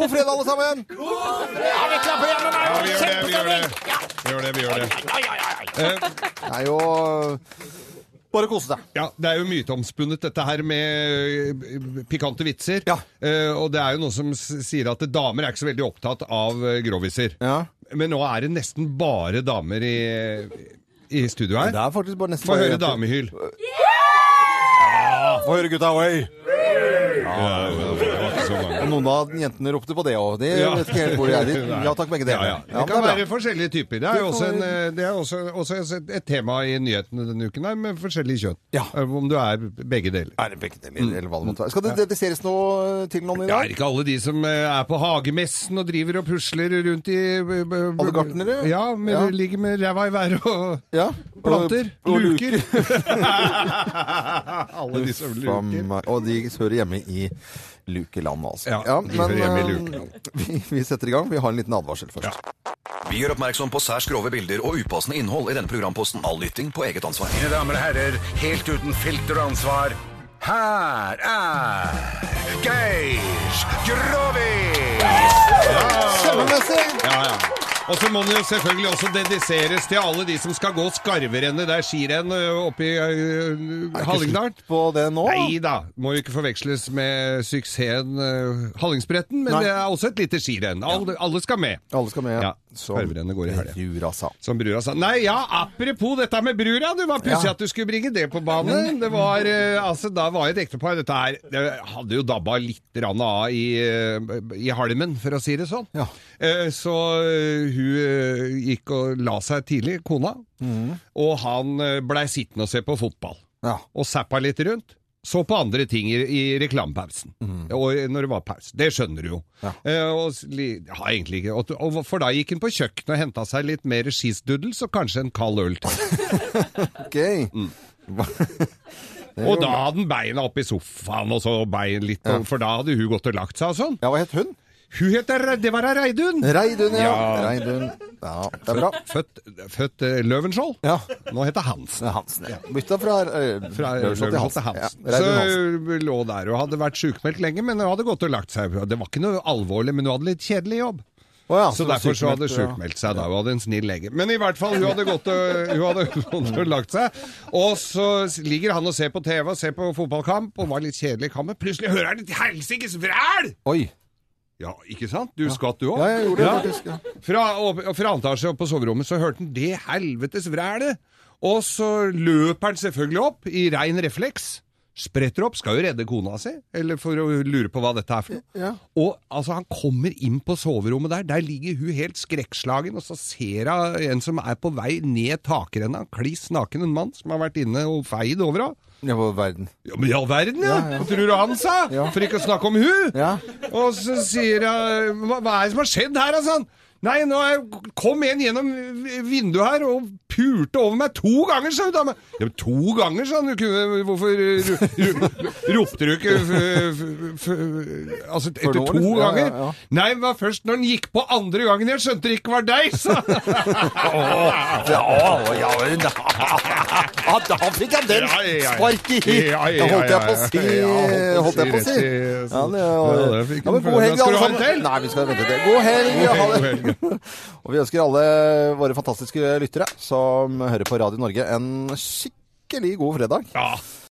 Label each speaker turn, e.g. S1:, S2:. S1: alle sammen!
S2: Ja, vi klapper igjen, men det
S3: Ja, vi
S2: er jo
S3: gjør det, vi gjør det. Vi gjør det, vi
S2: kjempestemning! Ja,
S3: gjør det.
S2: ja, ja, ja, ja.
S3: Eh,
S1: Det er jo bare å kose seg.
S3: ja, det er jo myteomspunnet dette her med eh, pikante vitser.
S1: Ja.
S3: Eh, og det er jo noe som s- sier at damer er ikke så veldig opptatt av eh, gråviser.
S1: Ja.
S3: Men nå er det nesten bare damer i, i studio
S1: Det
S3: her.
S1: er faktisk bare nesten
S3: Få høre
S1: jenter.
S3: damehyl.
S1: Få høre gutta away!
S3: Ja, det var ikke så mange.
S1: Noen av jentene ropte på det òg. De vet ikke helt hvor de er. De, ja takk, begge
S3: Ja, ja.
S1: deler.
S3: Det
S1: men
S3: kan
S1: er bra.
S3: være forskjellige typer. Det er jo også, en, eh, det er også, også et- et tema i nyhetene denne uken, her, med forskjellig kjønn.
S1: Ja.
S3: Eh, Om du er begge deler.
S1: Er det begge deler, eller hva det måtte være. Skal det dediseres noe til noen i
S3: Ja, er
S1: dag?
S3: ikke alle de som eh, er på hagemessen og driver og pusler rundt i Alle
S1: Alle gartnere?
S3: Ja, men
S1: Ja.
S3: ligger med ræva i været og
S1: Ja.
S3: planter.
S1: Og- og
S3: luker. alle de som
S1: Faen
S3: luker.
S1: meg. Og de hører hjemme i lukeland, altså.
S3: Ja, de hører hjemme i lukeland.
S1: eh, vi, vi setter i gang. Vi har en liten advarsel først.
S4: Vi gjør oppmerksom på særs grove bilder og upassende innhold i denne programposten. All lytting på eget ansvar.
S5: Mine damer og herrer, helt uten filter og ansvar, her er Geir Grovis!
S1: Kjempemessig!
S3: Ja, ja. Og så må den jo selvfølgelig også dediseres til alle de som skal gå skarverennet. Det er skirenn ø, oppe i ø, Hallingdal.
S1: På det nå?
S3: Nei da, må jo ikke forveksles med suksessen ø, Hallingsbretten, men
S1: Nei.
S3: det er også et lite skirenn. Alle, alle skal med.
S1: Alle skal med.
S3: Ja,
S1: Som
S3: skarverennet går i helga.
S1: Jura sa.
S3: Som brura sa. Nei, ja, apropos dette med brura. Det var plutselig
S1: Ja.
S3: at du skulle bringe det på banen. Det var, eh, altså, da var et ektepar Dette her det hadde jo dabba litt rann av i, eh, i halmen, for å si det sånn.
S1: Ja.
S3: Eh, Så eh, hun eh, gikk og la seg tidlig, kona.
S1: Mm.
S3: Og han eh, blei sittende og se på fotball.
S1: Ja.
S3: Og zappa litt rundt. Så på andre ting i, i reklamepausen. Og når det var pause. Det skjønner du jo.
S1: Mm. Ja.
S3: Eh, og, s- li- ja, egentlig ikke. Og, og, for da gikk hun på kjøkkenet og henta seg litt mer skisduddels og kanskje en kald øl til.
S1: Ok.
S3: Mm.
S1: Det er
S3: Og
S1: jo-
S3: da hadde han beina opp i sofaen, og så bein litt, og, for da hadde hun gått og lagt seg og sånn.
S1: Ja, hva het hun?
S3: Hun heter Det var ei Reidun!
S1: Reidun, ja.
S3: Ja.
S1: Reidun. Ja, det er bra.
S3: Født, født eh, Løvenskiold.
S1: Ja.
S3: Nå heter Hansen.
S1: Det er Hansen, ja. Bytta fra eh,
S3: Fra
S1: Lørenskiold
S3: Løvenskiold til Hansen.
S1: Ja, Reidun Hansen.
S3: så hun lå der og hadde vært sjukmeldt lenge, men hun hadde gått og lagt seg. Det var ikke noe alvorlig, men hun hadde litt kjedelig jobb.
S1: Å ja, det
S3: Så
S1: var
S3: derfor så hadde
S1: ja.
S3: sjukmeldt seg da. Hun hadde en snill lege. Men i hvert fall, hun hadde gått og, hun hadde gått og lagt seg. Og så ligger han og ser på TV og ser på fotballkamp, og var litt kjedelig i kampen. Plutselig hører han et helsikes vræl!
S1: Oi.
S3: Ja, ikke sant? Du skvatt, du òg.
S1: Ja, jeg gjorde det faktisk. Ja.
S3: Fra, og, og fra andre etasje opp på soverommet så hørte han det helvetes vrælet. Og så løper han selvfølgelig opp i rein refleks. Spretter opp, skal jo redde kona si, eller for å lure på hva dette er for noe.
S1: Ja.
S3: Og altså, han kommer inn på soverommet der, der ligger hun helt skrekkslagen, og så ser hun en som er på vei ned takrenna, kliss naken, en mann som har vært inne og feid over henne.
S1: Det var verden.
S3: Ja, men i all verden, ja!
S1: Ja, ja.
S3: Hva tror du han sa?
S1: Ja.
S3: For ikke å snakke om hun!
S1: Ja.
S3: Og så sier jeg Hva, hva er det som har skjedd her, altså? Nei, nå er, kom en gjennom vinduet her og pulte over meg to ganger, sa hun dame. Ja, men to ganger, sa han. Du kunne, hvorfor ro- ro- ropte du ikke f- f- f- Altså, etter
S1: nå,
S3: to
S1: liksom? Ja,
S3: ganger?
S1: ja, ja.
S3: Nei, det var først når den gikk på andre gangen jeg skjønte det ikke var deg, sa han.
S1: Ja, å, ja, men da, ja, da fikk jeg den
S3: Ja, ja, ja.
S1: spark i
S3: Ja, ja,
S1: Da holdt jeg på å si.
S3: ja, ja.
S1: Holdt jeg på å si.
S3: Rett i-
S1: Ja, det,
S3: Ja, det fikk
S1: ja, men
S3: den.
S1: god helg,
S3: Skal du
S1: alle
S3: ha en
S1: sammen.
S3: til?
S1: Nei, vi skal vente til. God helg!
S3: God
S1: ha
S3: helg,
S1: det. Og vi ønsker alle våre fantastiske lyttere som hører på Radio Norge, en skikkelig god fredag.
S3: Ja.